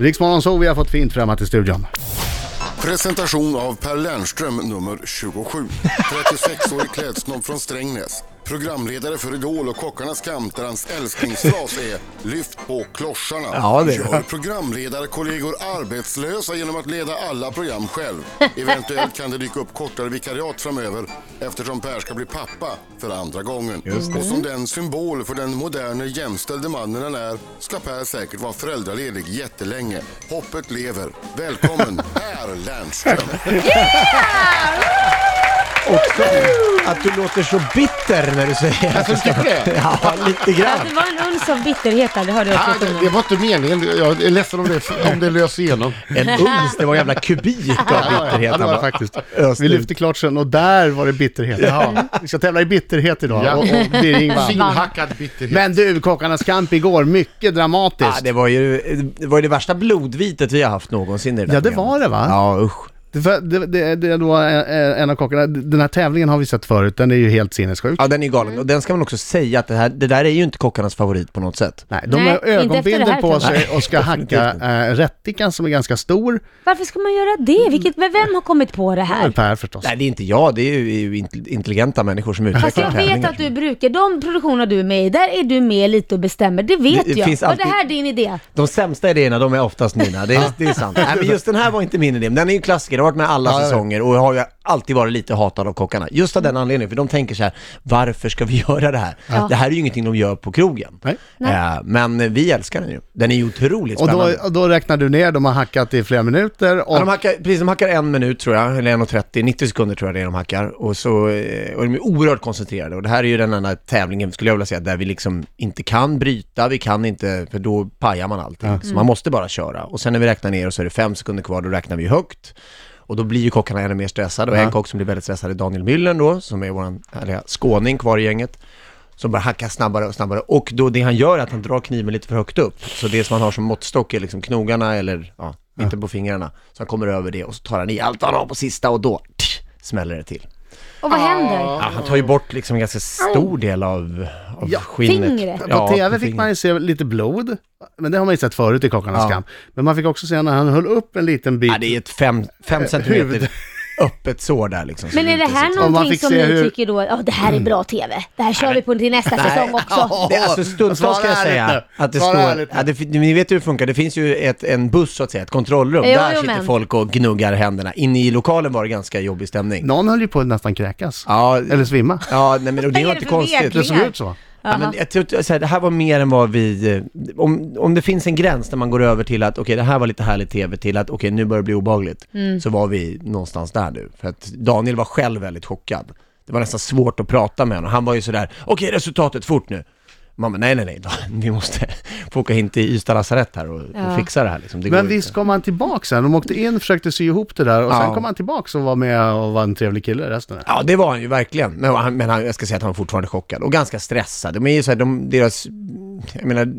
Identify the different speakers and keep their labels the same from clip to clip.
Speaker 1: Riksmorgon så vi har fått fint fram här till studion.
Speaker 2: Presentation av Per Lernström nummer 27. 36-årig klädsnobb från Strängnäs. Programledare för Idol och Kockarnas kamp där hans älsklingsfras är Lyft på klossarna.
Speaker 3: Ja, det är det.
Speaker 2: Gör programledarkollegor arbetslösa genom att leda alla program själv. Eventuellt kan det dyka upp kortare vikariat framöver eftersom Per ska bli pappa för andra gången. Och som den symbol för den moderne jämställde mannen han är ska Per säkert vara föräldraledig jättelänge. Hoppet lever. Välkommen Per Lernström.
Speaker 3: Också att du låter så bitter när du säger att du ska... Ja, lite
Speaker 4: Ja,
Speaker 3: grann.
Speaker 4: det var en uns av bitterhet där, det hörde jag
Speaker 5: Ah,
Speaker 4: också.
Speaker 5: det, det var inte meningen. Jag är ledsen om det, om det löser igenom.
Speaker 3: En uns, det var en jävla kubik av bitterhet.
Speaker 5: Ja, det
Speaker 3: Han
Speaker 5: var det
Speaker 3: bara,
Speaker 5: faktiskt.
Speaker 3: öste
Speaker 1: Vi
Speaker 3: ut.
Speaker 1: lyfte klart sen och där var det bitterhet. Vi ska tävla i bitterhet idag
Speaker 5: Ja.
Speaker 1: och, och blir Ingvar.
Speaker 5: Finhackad bitterhet.
Speaker 1: Men du, Kockarnas kamp igår, mycket dramatiskt.
Speaker 3: Ja, det var ju det, var ju det värsta blodvitet vi har haft någonsin i det där
Speaker 1: Ja, det
Speaker 3: programmet.
Speaker 1: var det, va?
Speaker 3: Ja, usch.
Speaker 1: Det, för- det, det, det är då eh, en av kockarna, den här tävlingen har vi sett förut, den är ju helt sinnessjuk.
Speaker 3: Ja, den är
Speaker 4: Mm.
Speaker 3: galen. Och den ska man också säga att det, här, det där är ju inte kockarnas favorit på något sätt.
Speaker 1: Nej, de
Speaker 4: Nej,
Speaker 1: har
Speaker 4: inte efter det
Speaker 1: ögonbindel
Speaker 4: här,
Speaker 1: på
Speaker 4: tror jag.
Speaker 1: sig och ska hacka eh, rättikan som är ganska stor.
Speaker 4: Varför ska man göra det? Vilket, men vem har kommit på det här?
Speaker 1: Men Per förstås.
Speaker 3: Nej, det är inte jag. Det är ju int- intelligenta människor som utvecklar
Speaker 4: Fast jag vet
Speaker 3: tävlingar.
Speaker 4: att du brukar, de produktioner du är med i, där är du med lite och bestämmer, det vet
Speaker 3: Det- det
Speaker 4: jag.
Speaker 3: finns
Speaker 4: Och
Speaker 3: alltid-
Speaker 4: det här är din idé.
Speaker 3: De sämsta idéerna, de är oftast mina. Det är, det är sant. Nej, men just den här var inte min idé. Men Den är ju klassiker. Den har varit med alla säsonger och har ju alltid varit lite hatad av kockarna. Just av den anledningen, för de tänker så här, varför ska vi göra det här? Det här är ju ingenting de gör på krogen.
Speaker 1: Nej.
Speaker 3: Eh, men vi älskar den ju. Den är ju otroligt
Speaker 1: och,
Speaker 3: spännande.
Speaker 1: då, och då räknar du ner, de har hackat i flera minuter och
Speaker 3: Ja, de hackar, precis, de hackar en minut tror jag, eller 1.30, 90 sekunder tror jag det är de hackar. Och, så, eh, och de är oerhört koncentrerade. Och det här är ju den enda tävlingen, skulle jag vilja säga, där vi liksom inte kan bryta, vi kan inte, för då pajar man allting. Så man måste bara köra. Och sen när vi räknar ner och så är det fem sekunder kvar, då räknar vi högt. Och då blir ju kockarna ännu mer stressade. Och en kock som blir väldigt stressad är Daniel Myllen då, som är vår härliga skåning kvar i gänget. Som bara hackar snabbare och snabbare. Och då det han gör är att han drar kniven lite för högt upp. Så det som han har som måttstock är liksom knogarna eller, ja, mitten på fingrarna. Så han kommer över det och så tar han i allt han har på sista och då tch, smäller det till.
Speaker 4: Och vad händer?
Speaker 3: Ja, han tar ju bort liksom en ganska stor del av, av skinnet.
Speaker 4: fingret.
Speaker 1: på
Speaker 3: Ja,
Speaker 1: tv
Speaker 3: på
Speaker 1: fick
Speaker 3: fingret.
Speaker 1: man ju se lite blod, men det har man ju sett förut i Kockarnas
Speaker 3: Ja.
Speaker 1: kamp. Men man fick också se när han höll upp en liten bit
Speaker 3: Ja, det är ett fem, fem centimeter
Speaker 1: Eh, Huvud.
Speaker 3: öppet sår där liksom. Så
Speaker 4: Men
Speaker 3: det
Speaker 4: är det
Speaker 3: inte
Speaker 4: här
Speaker 3: så-
Speaker 1: man
Speaker 4: någonting
Speaker 1: fick
Speaker 4: som
Speaker 1: se
Speaker 4: ni
Speaker 1: hur- Mm.
Speaker 4: tycker då, ja det här är bra TV, det här kör vi på till nästa säsong också.
Speaker 3: Det, är alltså
Speaker 1: Svara
Speaker 3: stundtals ska jag
Speaker 1: ärligt
Speaker 3: säga
Speaker 1: nu.
Speaker 3: att det
Speaker 1: Svara
Speaker 3: står,
Speaker 1: ärligt nu.
Speaker 3: ja, det, fin- ni vet ju hur det funkar, det finns ju ett, en buss så att säga, ett kontrollrum,
Speaker 4: Jo,
Speaker 3: där
Speaker 4: jo,
Speaker 3: sitter
Speaker 4: men.
Speaker 3: folk och gnuggar händerna. Inne i lokalen var det ganska jobbig stämning.
Speaker 1: Någon höll ju på att nästan kräkas.
Speaker 3: Ja,
Speaker 1: Eller svimma.
Speaker 3: ja nej, men och det
Speaker 4: Vad
Speaker 3: var
Speaker 4: är det
Speaker 3: inte
Speaker 4: för
Speaker 3: konstigt.
Speaker 4: regler?
Speaker 1: Det såg ut så.
Speaker 3: Ja, men jag tror, så här, det här var mer än vad vi... eh, Om, om det finns en gräns där man går över till att okej, det här var lite härligt tv till att okej, nu börjar det bli obehagligt. Så var vi någonstans där nu. För att Daniel var själv väldigt chockad. Det var nästan svårt att prata med honom. Han var ju sådär, okej resultatet fort nu. Man bara, nej nej nej, Daniel, vi måste få åka in till Ystad lasarett här och, och
Speaker 4: Ja.
Speaker 3: fixa det här liksom. Det
Speaker 1: Men
Speaker 3: går
Speaker 1: visst
Speaker 3: inte.
Speaker 1: kom han tillbaka sen? De åkte in, försökte sy ihop det där och sen
Speaker 3: Ja.
Speaker 1: kom han tillbaka och var med och var en trevlig kille resten. av det.
Speaker 3: Ja, det var han ju verkligen. Men, han, men han, jag ska säga att han var fortfarande chockad och ganska stressad. De är ju så här, de, deras... Jag menar,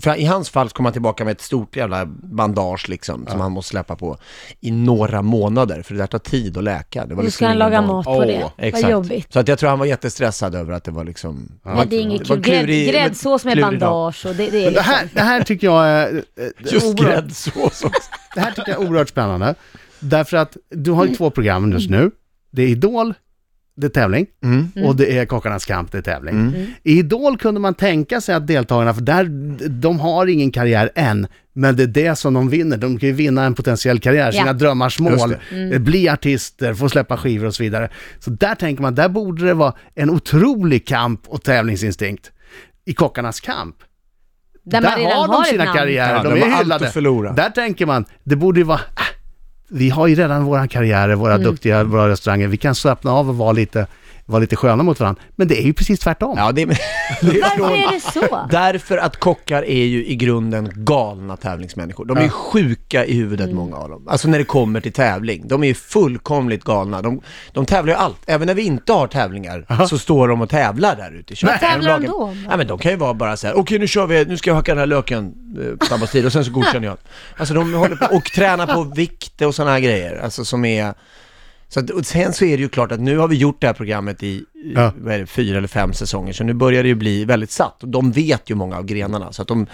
Speaker 3: för i hans fall så kom han tillbaka med ett stort jävla bandage liksom, som han måste släppa på i några månader, för det där tar tid att läka. Det var
Speaker 4: Nu
Speaker 3: liksom
Speaker 4: ska han
Speaker 3: ingen
Speaker 4: laga
Speaker 3: van-
Speaker 4: mat på det. Vad
Speaker 3: Exakt.
Speaker 4: jobbigt.
Speaker 3: Så att jag tror han var jättestressad över att det var liksom...
Speaker 4: Nej, det är inget kul. Grädd, gräddsås med bandage och det, det
Speaker 1: Men det
Speaker 4: är...
Speaker 1: här, det här tycker jag är... eh,
Speaker 3: Just
Speaker 1: oerhört-
Speaker 3: gräddsås också.
Speaker 1: Det här tycker jag är oerhört spännande. Därför att du har ju två program just nu. Det är Idol, det är tävling.
Speaker 3: Mm.
Speaker 1: Och det är Kockarnas kamp, det är tävling. I Idol kunde man tänka sig att deltagarna, för där, de har ingen karriär än, men det är det som de vinner. De kan ju vinna en potentiell karriär, sina
Speaker 4: Ja.
Speaker 1: drömmars
Speaker 3: Just
Speaker 1: mål,
Speaker 3: det.
Speaker 1: eh, bli artister, få släppa skivor och så vidare. Så där tänker man, där borde det vara en otrolig kamp och tävlingsinstinkt. I Kockarnas kamp,
Speaker 4: Där,
Speaker 1: där
Speaker 4: man redan
Speaker 1: har de
Speaker 4: har ett
Speaker 1: sina
Speaker 4: namn.
Speaker 1: karriärer,
Speaker 3: Ja,
Speaker 1: de,
Speaker 3: de har
Speaker 1: är
Speaker 3: allt
Speaker 1: hyllade.
Speaker 3: att förlora.
Speaker 1: Där tänker man, det borde ju vara, ah, vi har ju redan våra karriärer, våra
Speaker 4: Mm.
Speaker 1: duktiga, våra restauranger, vi kan slappna av och vara lite, vara lite sköna mot varandra. Men det är ju precis tvärtom.
Speaker 3: Ja, det, det är
Speaker 4: Varför
Speaker 3: från-
Speaker 4: är det så?
Speaker 3: Därför att kockar är ju i grunden galna tävlingsmänniskor. De är ju sjuka i huvudet, många av dem. Alltså när det kommer till tävling. De är ju fullkomligt galna. De, de tävlar ju allt. Även när vi inte har tävlingar så står de och tävlar där ute i köket.
Speaker 4: Vad tävlar de
Speaker 3: lagar-
Speaker 4: då?
Speaker 3: Ja, men de kan ju vara bara så här, okej nu kör vi, nu ska jag hacka den här löken eh, på snabbast tid och sen så godkänner jag. Alltså de håller på och tränar på vikt och sådana här grejer. Alltså som är... Så att, och sen så är det ju klart att nu har vi gjort det här programmet i i,
Speaker 1: Ja.
Speaker 3: vad är det, fyra eller fem säsonger, så nu börjar det ju bli väldigt satt. Och de vet ju många av grenarna, så att de,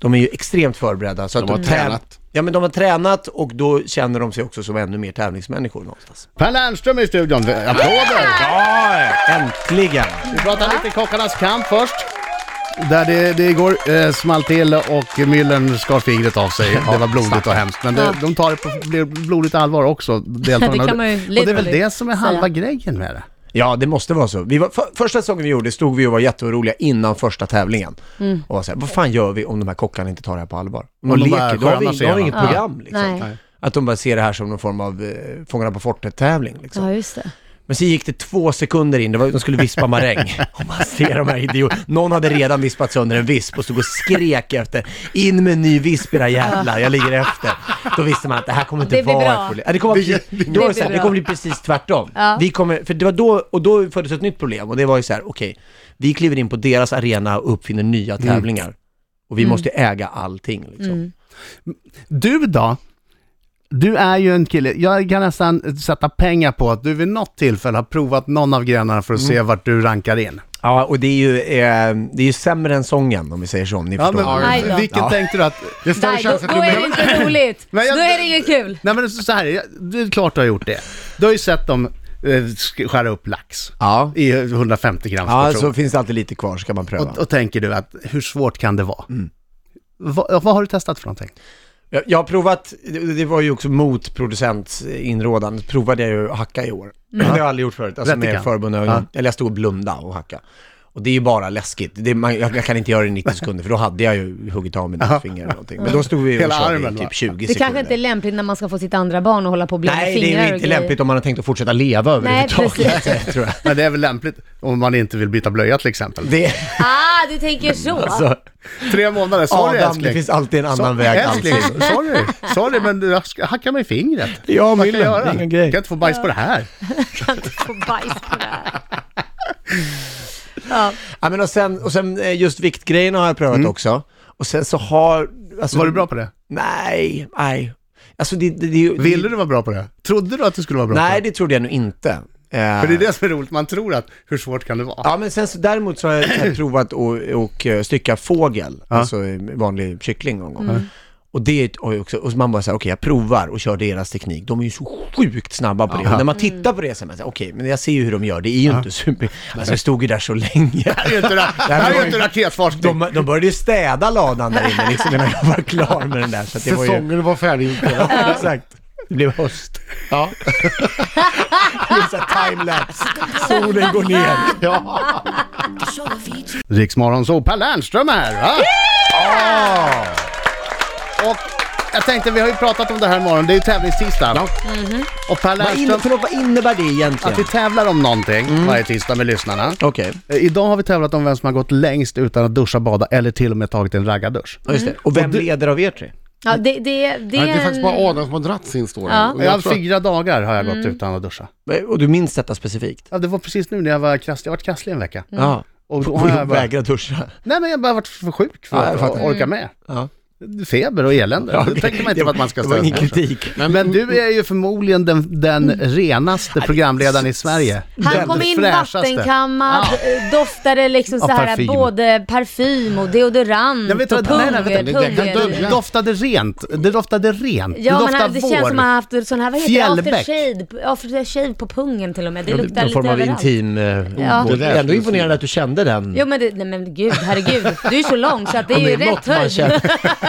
Speaker 3: de är ju extremt förberedda. Så de att
Speaker 5: har
Speaker 3: de
Speaker 5: tränat.
Speaker 3: Ja, men de har tränat och då känner de sig också som ännu mer tävlingsmänniskor någonstans.
Speaker 1: Per Lernström är i studion. Applåder!
Speaker 3: Ja, äntligen!
Speaker 1: Vi pratar lite Kockarnas kamp först. Där det, det igår eh, small till och Müllern skar fingret av sig. Det var blodigt och hemskt. Men det,
Speaker 4: Ja.
Speaker 1: de tar det på blir blodigt allvar också, deltagarna.
Speaker 4: Det kan man ju
Speaker 1: och det är väl
Speaker 4: literally
Speaker 1: det som är halva
Speaker 4: säga.
Speaker 1: grejen med det.
Speaker 3: Ja, det måste vara så. Vi var, för, första säsongen vi gjorde stod vi och var jätteoroliga innan första tävlingen.
Speaker 4: Mm.
Speaker 3: Och var så här, vad fan gör vi om de här kockarna inte tar det här på allvar? Om de
Speaker 1: de bara
Speaker 3: leker, då har vi,
Speaker 1: skönar sig
Speaker 3: då har vi
Speaker 1: igenom.
Speaker 3: inget
Speaker 4: Ja.
Speaker 3: program. Liksom.
Speaker 4: Nej.
Speaker 3: Att de bara ser det här som någon form av eh, Fångarna på fortet-tävling. Liksom.
Speaker 4: Ja, just det.
Speaker 3: Men sen gick det två sekunder in, det var, de skulle vispa maräng. Och man ser de här idioterna. Någon hade redan vispat sönder en visp och stod och skrek efter. In med en ny visp era jävlar, jag ligger efter. Då visste man att det här kommer inte
Speaker 4: Det blir
Speaker 3: vara
Speaker 4: bra.
Speaker 3: ett problem. Ja, Det kommer, bli, det, var
Speaker 4: blir
Speaker 3: så här, det
Speaker 4: bra.
Speaker 3: kommer bli precis tvärtom.
Speaker 4: Ja.
Speaker 3: Vi kommer, för det var då, och då föddes ett nytt problem och det var ju så här, okej, vi kliver in på deras arena och uppfinner nya tävlingar. Och vi
Speaker 4: Mm.
Speaker 3: måste äga allting liksom.
Speaker 1: Du då? Du är ju en kille, jag kan nästan sätta pengar på att du vid något tillfälle har provat någon av grenarna för att se vart du rankar in.
Speaker 3: Ja, och det är ju, eh, det är ju sämre än sången om vi säger så, om ni
Speaker 1: Ja,
Speaker 3: förstår. vad jag menar.
Speaker 4: Aj då.
Speaker 1: men, vilken
Speaker 3: Ja.
Speaker 1: tänkte du att...
Speaker 5: Det är större
Speaker 4: Nej, då,
Speaker 5: chans att du
Speaker 4: då är det
Speaker 5: blir...
Speaker 4: inte roligt. Då
Speaker 1: Men jag-
Speaker 4: är det inget kul.
Speaker 1: Nej men så så här, jag- det är klart du har gjort det. Du har ju sett dem eh, sk- skära upp lax
Speaker 3: Ja.
Speaker 1: i 150 grams
Speaker 3: Ja,
Speaker 1: portion.
Speaker 3: så finns det alltid lite kvar så kan man pröva.
Speaker 1: Och, och tänker du att hur svårt kan det vara? Va, vad har du testat för någonting?
Speaker 3: jag, jag har provat, det, det var ju också mot producents inrådan, provade jag ju att hacka i
Speaker 1: Mm.
Speaker 3: år. Det har jag aldrig gjort förut, alltså med
Speaker 1: Rättikan.
Speaker 3: förbundna ögon. Eller jag stod och blundade och hacka. Och det är ju bara läskigt. Det, man, jag, jag kan inte göra det i 90 sekunder för då hade jag ju huggit av mina fingrar eller någonting. Men då stod vi och
Speaker 1: Hela
Speaker 3: körde
Speaker 1: armen,
Speaker 3: i
Speaker 1: va?
Speaker 3: typ 20 sekunder.
Speaker 4: Det kanske inte är lämpligt när man ska få sitt andra barn och hålla på och blanda
Speaker 3: Nej, det
Speaker 4: fingrar
Speaker 3: är ju inte
Speaker 4: och grejer.
Speaker 3: lämpligt om man har tänkt att fortsätta leva
Speaker 4: Nej,
Speaker 3: överhuvudtaget. tror jag.
Speaker 1: Men det är väl lämpligt om man inte vill byta blöja till exempel.
Speaker 3: Det,
Speaker 4: Ah, du tänker så.
Speaker 3: alltså,
Speaker 1: Tre månader, sorry
Speaker 3: Adam,
Speaker 1: älskling.
Speaker 3: det finns alltid en annan
Speaker 1: So-
Speaker 3: väg.
Speaker 1: älskling,
Speaker 3: alltid.
Speaker 1: sorry, sorry men jag ska hacka mig i fingret.
Speaker 3: Ja,
Speaker 1: Vad kan
Speaker 3: Millen,
Speaker 1: jag göra?
Speaker 3: det är
Speaker 1: Kan
Speaker 3: ingen grej.
Speaker 1: inte få bajs på det här.
Speaker 4: kan inte få bajs på det här. Ja.
Speaker 3: Ja, men och, sen, och sen eh, just viktgrejerna har jag prövat också. Och sen så har... Alltså,
Speaker 1: Mm. Var du bra på det?
Speaker 3: Nej, nej. Alltså det... det, det
Speaker 1: Ville du vara bra på det? Trodde du att du skulle vara bra
Speaker 3: Nej,
Speaker 1: på
Speaker 3: det trodde jag nog inte. Eh,
Speaker 1: det? För det är det som är roligt, man tror att hur svårt kan det vara?
Speaker 3: Ja, men sen så, däremot så har jag, jag provat och, och eh, stycka fågel, alltså eh, vanlig kyckling någon gång. Och det är ett- och också, och så man bara såhär, okej jag provar och kör deras teknik. De är ju så sjukt snabba på det. Och när man tittar på det så är man såhär, okej, men jag ser ju hur de gör, det är ju inte super... Alltså jag stod ju där så länge.
Speaker 1: Det här är ju inte, ra- det här är ju inte raketforskning.
Speaker 3: De, de började ju städa ladan där inne liksom innan jag var klar med den där. Så att det var ju...
Speaker 5: Säsongen var färdig.
Speaker 3: Ja, exakt. Det blev höst.
Speaker 5: Ja.
Speaker 3: Det blev såhär timelapse. Solen går ner.
Speaker 5: ja.
Speaker 1: Riksmorgon så Per Lernström här va? Och jag tänkte, vi har ju pratat om det här imorgon, det är ju tävlingstisdag. Och Per
Speaker 3: Vad, inne,
Speaker 1: Lernström,
Speaker 3: förlåt, vad innebär det
Speaker 1: att vi
Speaker 3: egentligen?
Speaker 1: tävlar om någonting varje tisdag med lyssnarna.
Speaker 3: Mm. Okej,
Speaker 1: Eh, Idag har vi tävlat om vem som har gått längst utan att duscha, bada eller till och med tagit en raggardusch.
Speaker 3: ja, just det. Och Mm. vem leder av er tre?
Speaker 4: Ja, det, det, det
Speaker 5: Det är,
Speaker 4: är
Speaker 5: faktiskt
Speaker 4: en...
Speaker 5: bara Adam som har dratt sin story.
Speaker 4: Ja.
Speaker 5: Och
Speaker 1: Jag har
Speaker 5: Jag
Speaker 1: haft
Speaker 5: tror,
Speaker 1: fyra dagar har jag gått
Speaker 4: Mm.
Speaker 1: utan att duscha.
Speaker 3: Eh, Och du minns detta specifikt?
Speaker 1: Ja, det var precis nu när jag var krasslig, jag har varit krasslig en vecka.
Speaker 4: Mm.
Speaker 3: Ja.
Speaker 1: Och då
Speaker 3: Mm. Och
Speaker 1: har jag
Speaker 3: jag
Speaker 1: bara,
Speaker 3: vägrar duscha.
Speaker 1: nej men jag har bara varit för sjuk för
Speaker 3: Ja, jag
Speaker 1: att
Speaker 3: fattar.
Speaker 4: Mm.
Speaker 1: orka med.
Speaker 3: Ja.
Speaker 1: Feber och elände, det tänker man inte på att man ska
Speaker 3: Det var
Speaker 1: ställa sig
Speaker 3: ingen
Speaker 1: med.
Speaker 3: kritik.
Speaker 1: Men, du är ju förmodligen den, den renaste programledaren i Sverige.
Speaker 4: Han
Speaker 1: Den
Speaker 4: kom in
Speaker 1: fräschaste.
Speaker 4: vattenkammad, eh, doftade liksom
Speaker 1: Ja,
Speaker 4: så här
Speaker 1: parfym.
Speaker 4: både parfym och deodorant
Speaker 1: Jag vet
Speaker 4: och
Speaker 1: inte- nej, nej, vänta,
Speaker 4: pungel.
Speaker 5: det kan
Speaker 4: pungel.
Speaker 5: dölja.
Speaker 1: Det doftade rent, det doftade rent, det
Speaker 4: Ja men
Speaker 1: doftar
Speaker 4: han- det
Speaker 1: vår.
Speaker 4: känns som att han har haft sån här, vad heter det,
Speaker 1: Fjällbäck.
Speaker 4: aftershave, aftershave på pungen till och med. Det luktar
Speaker 3: Någon
Speaker 4: lite
Speaker 3: form av
Speaker 4: överallt.
Speaker 3: intim... eh,
Speaker 5: Det
Speaker 3: obehag.
Speaker 5: där
Speaker 3: Jag är ändå
Speaker 5: skulle
Speaker 3: imponerande att du kände den.
Speaker 4: Jo men det, nej men gud, herregud. Du är så lång så att det är
Speaker 3: Om
Speaker 4: ju
Speaker 3: är något
Speaker 4: rätt
Speaker 3: man
Speaker 4: höjd.
Speaker 3: känner-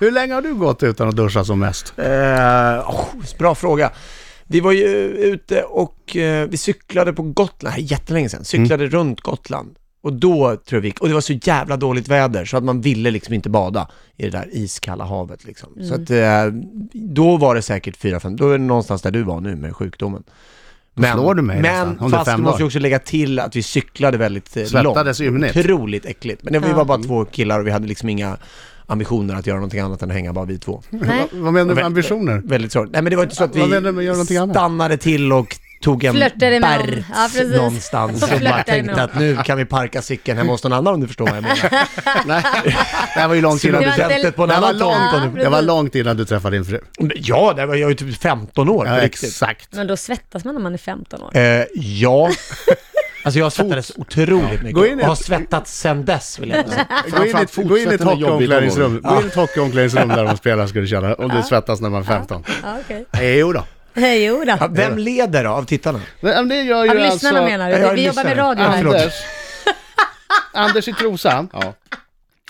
Speaker 1: Hur länge har du gått utan att duscha som mest?
Speaker 3: Eh, oh, bra fråga. Vi var ju ute och eh, vi cyklade på Gotland, här jättelänge sedan, cyklade
Speaker 1: Mm.
Speaker 3: runt Gotland. Och då tror jag vi gick, och det var så jävla dåligt väder så att man ville liksom inte bada i det där iskalla havet liksom. Så
Speaker 1: Mm.
Speaker 3: att eh, då var det säkert 4-5, då är det någonstans där du var nu med sjukdomen.
Speaker 1: slår du mig nästan, om
Speaker 3: men
Speaker 1: det är
Speaker 3: fast
Speaker 1: fem
Speaker 3: vi måste
Speaker 1: dagar.
Speaker 3: ju också lägga till att vi cyklade väldigt eh,
Speaker 1: Svettades ymnigt.
Speaker 3: Otroligt äckligt. Men det, vi
Speaker 4: Ja.
Speaker 3: var bara två killar och vi hade liksom inga ambitioner att göra någonting annat än att hänga bara vi två.
Speaker 4: Nej.
Speaker 1: Vad menar du med ambitioner?
Speaker 3: Väldigt sorgligt. Nej men det var inte så att
Speaker 1: Vad menar du med att göra
Speaker 3: vi
Speaker 1: någonting annat?
Speaker 3: stannade till och tog en
Speaker 4: Flörtade med någon.
Speaker 3: Berts
Speaker 4: Ja, precis.
Speaker 3: någonstans
Speaker 4: Och
Speaker 3: och bara
Speaker 4: flörtade med
Speaker 3: tänkte att nu kan vi parka cykeln hemma hos någon annan om du förstår vad jag menar.
Speaker 1: Nej, det här var ju långt
Speaker 3: Skulle
Speaker 1: innan
Speaker 4: Det
Speaker 1: du
Speaker 3: du
Speaker 4: var
Speaker 1: träffade...
Speaker 3: bältet
Speaker 4: inte-
Speaker 3: på en
Speaker 1: Det var,
Speaker 3: annan tomt?
Speaker 1: långt, det var långt innan du träffade din fru.
Speaker 3: Ja, det var, jag var ju typ 15 år
Speaker 1: Ja,
Speaker 3: på riktigt.
Speaker 1: exakt.
Speaker 4: Men då svettas man när man är 15 år.
Speaker 3: Eh, ja. Alltså jag svettades otroligt
Speaker 1: Gå in
Speaker 3: mycket
Speaker 1: i-
Speaker 3: och har svettats sen dess vill jag ändå säga.
Speaker 1: Gå in i ett, gå in i ett
Speaker 5: fortsätter med jobbigt
Speaker 1: hockeyomklädningsrum. Gå in i ett hockeyomklädningsrum där de spelar skulle du känna. Om du svettas när man är 15.
Speaker 4: Ja, okej.
Speaker 1: Jo då.
Speaker 4: Jo då.
Speaker 3: Ja, Vem leder då av tittarna?
Speaker 1: Nej, men det gör
Speaker 4: Av
Speaker 1: ju alltså...
Speaker 4: lyssnarna menar
Speaker 3: jag
Speaker 4: du?
Speaker 3: är
Speaker 4: Vi jobbar med
Speaker 3: lyssnare.
Speaker 4: radio
Speaker 3: Ja,
Speaker 4: här.
Speaker 3: förlåt.
Speaker 1: Anders. Anders i Trosa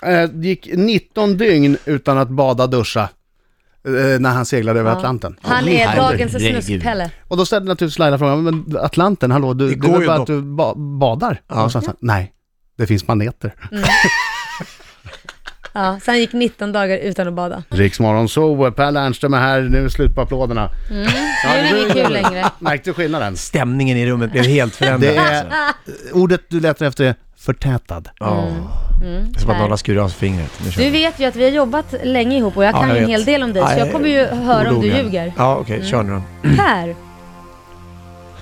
Speaker 5: Ja.
Speaker 1: eh, gick 19 dygn utan att bada, duscha. eh, När han seglade över Atlanten.
Speaker 4: Han är dagens snuskpelle.
Speaker 1: Och då ställde naturligtvis Laila frågan, men Atlanten, hallå, du, det,
Speaker 3: Det
Speaker 1: det
Speaker 3: går
Speaker 1: är väl
Speaker 3: ju
Speaker 1: bara
Speaker 3: inte
Speaker 1: att du ba- badar? Och så sa han, nej, det finns maneter.
Speaker 3: Mm.
Speaker 4: Ja, så han gick 19 dagar utan att bada.
Speaker 1: Riksmorgon så, Per Lernström är här, nu är det slut på applåderna.
Speaker 4: Nu är det inget kul längre.
Speaker 1: Märkte du skillnaden?
Speaker 3: Stämningen i rummet blev helt förändrad.
Speaker 1: Det är, ordet du letar efter är förtätad.
Speaker 3: Ja. Det är som att någon har skurit av sig fingret. Nu kör
Speaker 4: Mm. Du
Speaker 3: vi.
Speaker 4: vet ju att vi har jobbat länge ihop och jag
Speaker 3: Ja,
Speaker 4: kan
Speaker 3: jag
Speaker 4: ju en
Speaker 3: vet.
Speaker 4: hel del om dig,
Speaker 3: Ja,
Speaker 4: så jag
Speaker 3: jag-
Speaker 4: kommer ju höra om du
Speaker 3: Ologisk.
Speaker 4: ljuger.
Speaker 3: Ja, okej, kör nu då.
Speaker 4: Per,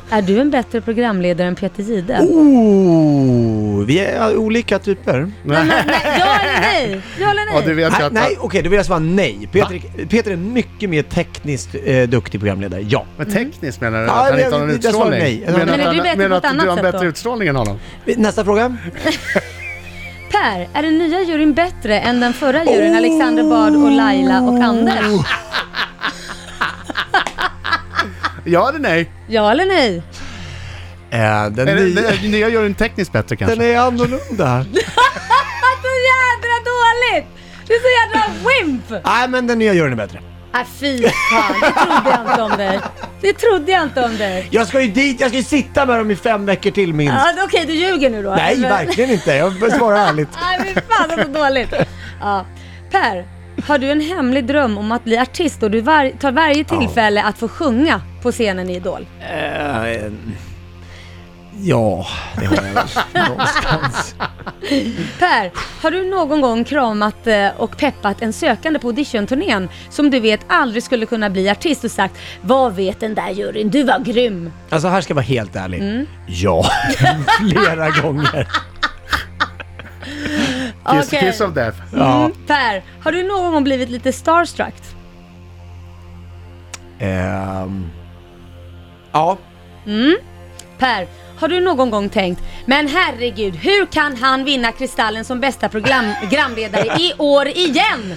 Speaker 4: är du en bättre programledare än Peter Jihde?
Speaker 3: Oh, vi är olika typer.
Speaker 4: Nej, men, nej, ja eller nej? Ja eller
Speaker 1: Och du
Speaker 4: nej?
Speaker 1: vet ju
Speaker 3: Nej,
Speaker 1: att...
Speaker 3: nej okej, då vill jag svara nej. Peter, Peter är mycket mer tekniskt eh, duktig programledare, ja.
Speaker 1: Men tekniskt menar du
Speaker 3: Ja,
Speaker 1: att han
Speaker 3: men
Speaker 1: inte har någon
Speaker 3: jag- jag svarar
Speaker 1: utstrålning?
Speaker 3: nej.
Speaker 1: Menar att
Speaker 3: Men
Speaker 4: är du
Speaker 1: han-
Speaker 4: bättre
Speaker 1: menar
Speaker 4: på ett
Speaker 1: att du har
Speaker 4: annat
Speaker 1: en
Speaker 4: sätt
Speaker 1: bättre
Speaker 4: då?
Speaker 1: utstrålning än honom?
Speaker 3: Nästa fråga.
Speaker 4: Per, är den nya juryn bättre än den förra juryn, Alexander Bard och Laila och Anders?
Speaker 1: Ja eller nej?
Speaker 4: Ja eller nej?
Speaker 3: Eh, den,
Speaker 1: Är det,
Speaker 3: nya,
Speaker 1: det, nya gör den tekniskt bättre kanske?
Speaker 3: den är annorlunda.
Speaker 4: Så jädra dåligt! Du är så jädra wimp!
Speaker 3: Nej, men den nya gör den bättre.
Speaker 4: Nej Äh, fy fan, det trodde jag inte om dig. Det trodde jag inte om dig.
Speaker 3: Jag ska ju dit, jag ska ju sitta med dem i fem veckor till minst.
Speaker 4: Ja, Okej, du ljuger nu då?
Speaker 3: Nej,
Speaker 4: Men-
Speaker 3: verkligen inte. Jag svarar ärligt.
Speaker 4: Nej fy fan, det var så dåligt. Ja. Per, har du en hemlig dröm om att bli artist och du var- tar varje tillfälle att få sjunga på scenen i Idol?
Speaker 3: Eh, ja, det har jag väl någonstans.
Speaker 4: Per, har du någon gång kramat eh, och peppat en sökande på auditionturnén som du vet aldrig skulle kunna bli artist och sagt Vad vet den där juryn, du var grym.
Speaker 3: Alltså här ska jag vara helt ärlig. Ja, flera gånger.
Speaker 1: Kiss,
Speaker 4: Okej. Mm,
Speaker 1: kiss of death.
Speaker 3: Ja.
Speaker 4: Per, har du någon gång blivit lite starstruck?
Speaker 3: Ehm, ja.
Speaker 4: Per, har du någon gång tänkt Men herregud, hur kan han vinna Kristallen som bästa program- programledare i år igen?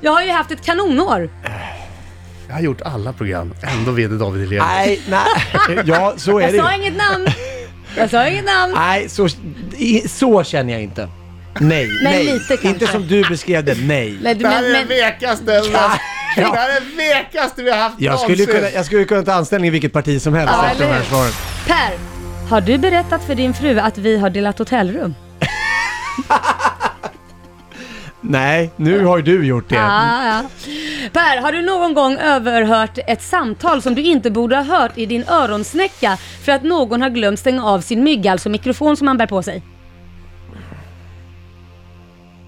Speaker 4: Jag har ju haft ett kanonår.
Speaker 1: Jag har gjort alla program, ändå vinner David Helenius.
Speaker 3: Nej, nej. Ja, så är
Speaker 4: Jag
Speaker 3: det ju.
Speaker 4: sa inget namn. Jag sa inget namn.
Speaker 3: Nej, så, i- så känner jag inte. Nej, nej.
Speaker 4: lite kanske.
Speaker 3: inte som du beskrev det, nej.
Speaker 4: Nej, du-
Speaker 1: Det här
Speaker 4: men,
Speaker 1: är den
Speaker 4: men,
Speaker 1: vekaste,
Speaker 3: Ja.
Speaker 1: det här är den vekaste vi har haft
Speaker 3: Jag skulle, ju
Speaker 1: någonsin.
Speaker 3: kunna, jag skulle kunna ta anställning i vilket parti som helst
Speaker 4: Ja,
Speaker 3: efter de
Speaker 4: eller
Speaker 3: här
Speaker 4: hur?
Speaker 3: svaren.
Speaker 4: per, har du berättat för din fru att vi har delat hotellrum?
Speaker 3: Nej, nu har ju du gjort det.
Speaker 4: Ja, ja. Per, har du någon gång överhört ett samtal som du inte borde ha hört i din öronsnäcka för att någon har glömt stänga av sin mygg, alltså mikrofon som man bär på sig?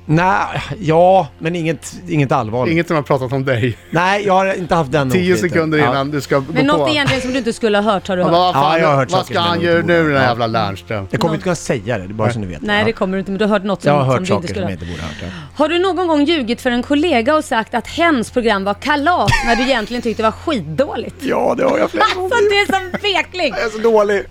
Speaker 3: Nej, ja, men inget, inget allvarligt.
Speaker 1: Inget som har pratat om dig.
Speaker 3: Nej, jag har inte haft den
Speaker 1: Tio
Speaker 3: noten.
Speaker 1: sekunder
Speaker 3: Ja.
Speaker 1: innan du ska gå
Speaker 4: Men något
Speaker 1: på.
Speaker 4: egentligen som du inte skulle ha hört har du
Speaker 1: Ja,
Speaker 4: hört.
Speaker 1: Vad,
Speaker 3: Ja,
Speaker 1: fan,
Speaker 3: jag har hört
Speaker 1: vad
Speaker 3: saker
Speaker 1: ska
Speaker 3: som
Speaker 1: han
Speaker 3: jag
Speaker 1: göra
Speaker 3: inte
Speaker 1: nu den
Speaker 3: borde.
Speaker 1: här
Speaker 3: Ja.
Speaker 1: jävla Lernström?
Speaker 3: Jag kommer inte kunna säga det, det är bara så ni vet.
Speaker 4: Nej, det kommer du inte, men du har hört något
Speaker 3: jag
Speaker 4: som,
Speaker 3: har hört
Speaker 4: som du
Speaker 3: saker
Speaker 4: inte skulle
Speaker 3: som
Speaker 4: ha
Speaker 3: jag
Speaker 4: hört.
Speaker 3: inte borde ha hört. ja.
Speaker 4: Har du någon gång ljugit för en kollega och sagt att hens program var kalas när du egentligen tyckte det var skitdåligt?
Speaker 3: Ja, det har jag flera
Speaker 4: Alltså du är som vekling!
Speaker 3: Jag är så dålig.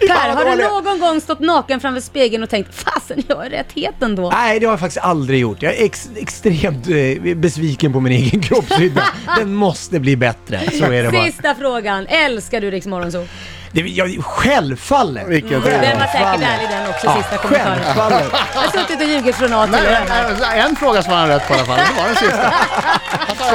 Speaker 4: Per, har du någon gång stått naken framför spegeln och tänkt fasen jag är rätt het ändå?
Speaker 3: Nej, det har jag faktiskt aldrig gjort. Jag är ex- extremt eh, besviken på min egen kroppshydda. Den måste bli bättre, så är det bara.
Speaker 4: Sista frågan, älskar du Rix Morgonzoo?
Speaker 3: Det, jag, självfallet!
Speaker 1: Vilken tur.
Speaker 4: Den var säkert ärlig den också, sista kommentaren.
Speaker 3: Självfallet!
Speaker 4: Jag har suttit och ljugit från A till
Speaker 1: Nej,
Speaker 4: Ö.
Speaker 1: en- en fråga svarade han rätt på i alla fall, det var den sista.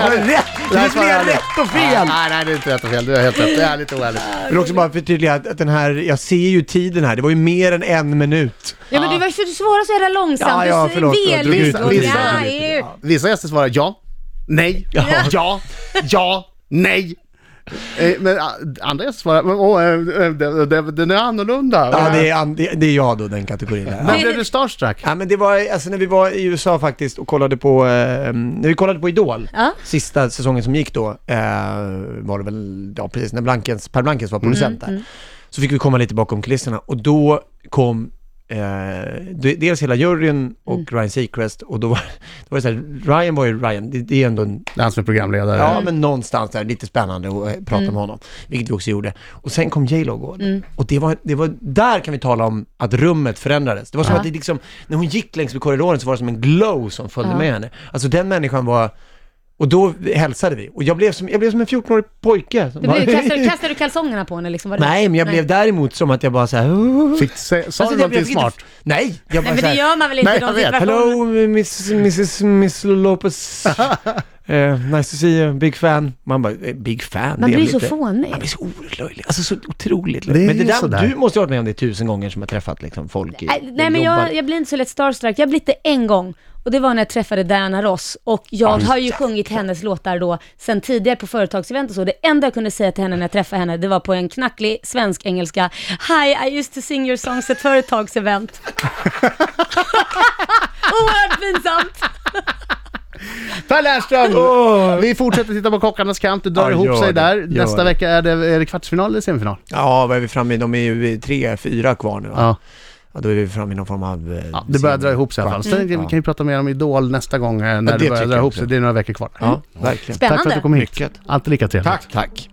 Speaker 3: Har du rätt? Det
Speaker 1: här
Speaker 3: är
Speaker 1: svarar
Speaker 3: fler
Speaker 1: jag
Speaker 3: rätt och fel!
Speaker 1: Nej, nej, det är inte rätt och fel. Du har helt rätt. Det är lite oärligt.
Speaker 3: Jag vill också bara förtydliga att att den här, jag ser ju tiden här, det var ju mer än en minut.
Speaker 4: Ja men du var ju svara så jävla långsamt.
Speaker 3: Ja, ja,
Speaker 4: Du-
Speaker 3: förlåt, förlåt,
Speaker 4: Velig-
Speaker 3: drog ut-
Speaker 4: Ja,
Speaker 1: drog ut-
Speaker 4: ja,
Speaker 3: drog ut-
Speaker 4: ju.
Speaker 1: Vissa gäster svarar ja, nej, ja, ja, ja nej. Eh, Men ah, Andreas svarar, men åh, eh, eh, den- den- den är annorlunda.
Speaker 3: Ja, det är, an- det det är jag då, den kategorin. där.
Speaker 1: Men blev du starstruck?
Speaker 3: Ja men det var, alltså när vi var i USA faktiskt och kollade på, eh, när vi kollade på Idol,
Speaker 4: Ja.
Speaker 3: sista säsongen som gick då, eh, var det väl, ja precis, när Blankens, Per Blankens var producent där. Så fick vi komma lite bakom kulisserna och då kom eh, de- dels hela juryn och Ryan Seacrest och då var, då var det så här, Ryan var ju Ryan, det, det är ändå en
Speaker 1: Det är Han som är programledare.
Speaker 3: Ja,
Speaker 4: Mm.
Speaker 3: men någonstans där, lite spännande att eh, prata med honom. Vilket vi också gjorde. Och sen kom J.Lo igår.
Speaker 4: Mm.
Speaker 3: Och det var, det var, där kan vi tala om att rummet förändrades. Det var som att det liksom, när hon gick längs med korridoren så var det som en glow som följde med henne. Alltså den människan var, och då hälsade vi. Och jag blev som, jag blev som en 14-årig pojke. Som
Speaker 4: Det
Speaker 3: bara,
Speaker 4: blir, kastar, du- kastar du kalsongerna på henne liksom? Var det
Speaker 3: Nej, men jag blev däremot som att jag bara såhär...
Speaker 1: Fick, se, sa
Speaker 3: Alltså,
Speaker 1: du
Speaker 3: jag- jag
Speaker 1: någonting
Speaker 3: fick inte-
Speaker 1: smart?
Speaker 3: Nej! Jag bara så
Speaker 4: Nej men det
Speaker 3: här,
Speaker 4: gör man väl inte
Speaker 1: Nej,
Speaker 4: i de
Speaker 1: jag vet.
Speaker 4: situationerna?
Speaker 3: Hello, miss, Mrs. Miss Lopez. Eh, nice to see you, big fan. Man bara, eh, big fan?
Speaker 4: Man
Speaker 3: det är
Speaker 4: blir
Speaker 3: väl
Speaker 4: så
Speaker 3: inte-
Speaker 4: fånig.
Speaker 3: Man blir så oerhört löjlig. Alltså så otroligt
Speaker 1: Det är
Speaker 3: löjlig. Men det
Speaker 1: ju sådär.
Speaker 3: där, du måste ha varit med om det tusen gånger som har träffat liksom, folk i,
Speaker 4: Nej, Nej men
Speaker 3: jobbar.
Speaker 4: jag, jag blir inte så lätt starstruck. Jag har blivit det en gång. Och det var när jag träffade Diana Ross. Och jag har ju sjungit hennes låtar då sen tidigare på företagsevent och så. Det enda jag kunde säga till henne när jag träffade henne, det var på en knacklig svensk-engelska. Hi, I used to sing your songs at företagsevent. Oerhört pinsamt.
Speaker 1: Per Lernström! Vi fortsätter titta på Kockarnas kamp, det drar
Speaker 3: Ja,
Speaker 1: ihop
Speaker 3: gör
Speaker 1: sig
Speaker 3: det.
Speaker 1: där.
Speaker 3: Gör
Speaker 1: Nästa
Speaker 3: det.
Speaker 1: vecka är det, är det kvartsfinal eller semifinal?
Speaker 3: Ja, vad är vi framme i? De är ju tre, fyra kvar nu va?
Speaker 1: Ja.
Speaker 3: ja då är vi framme i någon form av... eh,
Speaker 1: Det börjar
Speaker 3: scen-
Speaker 1: dra ihop sig i alla fall. Sen vi kan vi prata mer om Idol nästa gång eh, när det
Speaker 3: det
Speaker 1: börjar
Speaker 3: tycker
Speaker 1: dra
Speaker 3: jag
Speaker 1: ihop
Speaker 3: också.
Speaker 1: sig. Det är några veckor kvar.
Speaker 3: Ja, verkligen.
Speaker 1: Tack för att
Speaker 4: Spännande.
Speaker 1: du kom hit.
Speaker 3: Mycket.
Speaker 1: Alltid lika trevligt.
Speaker 3: Tack.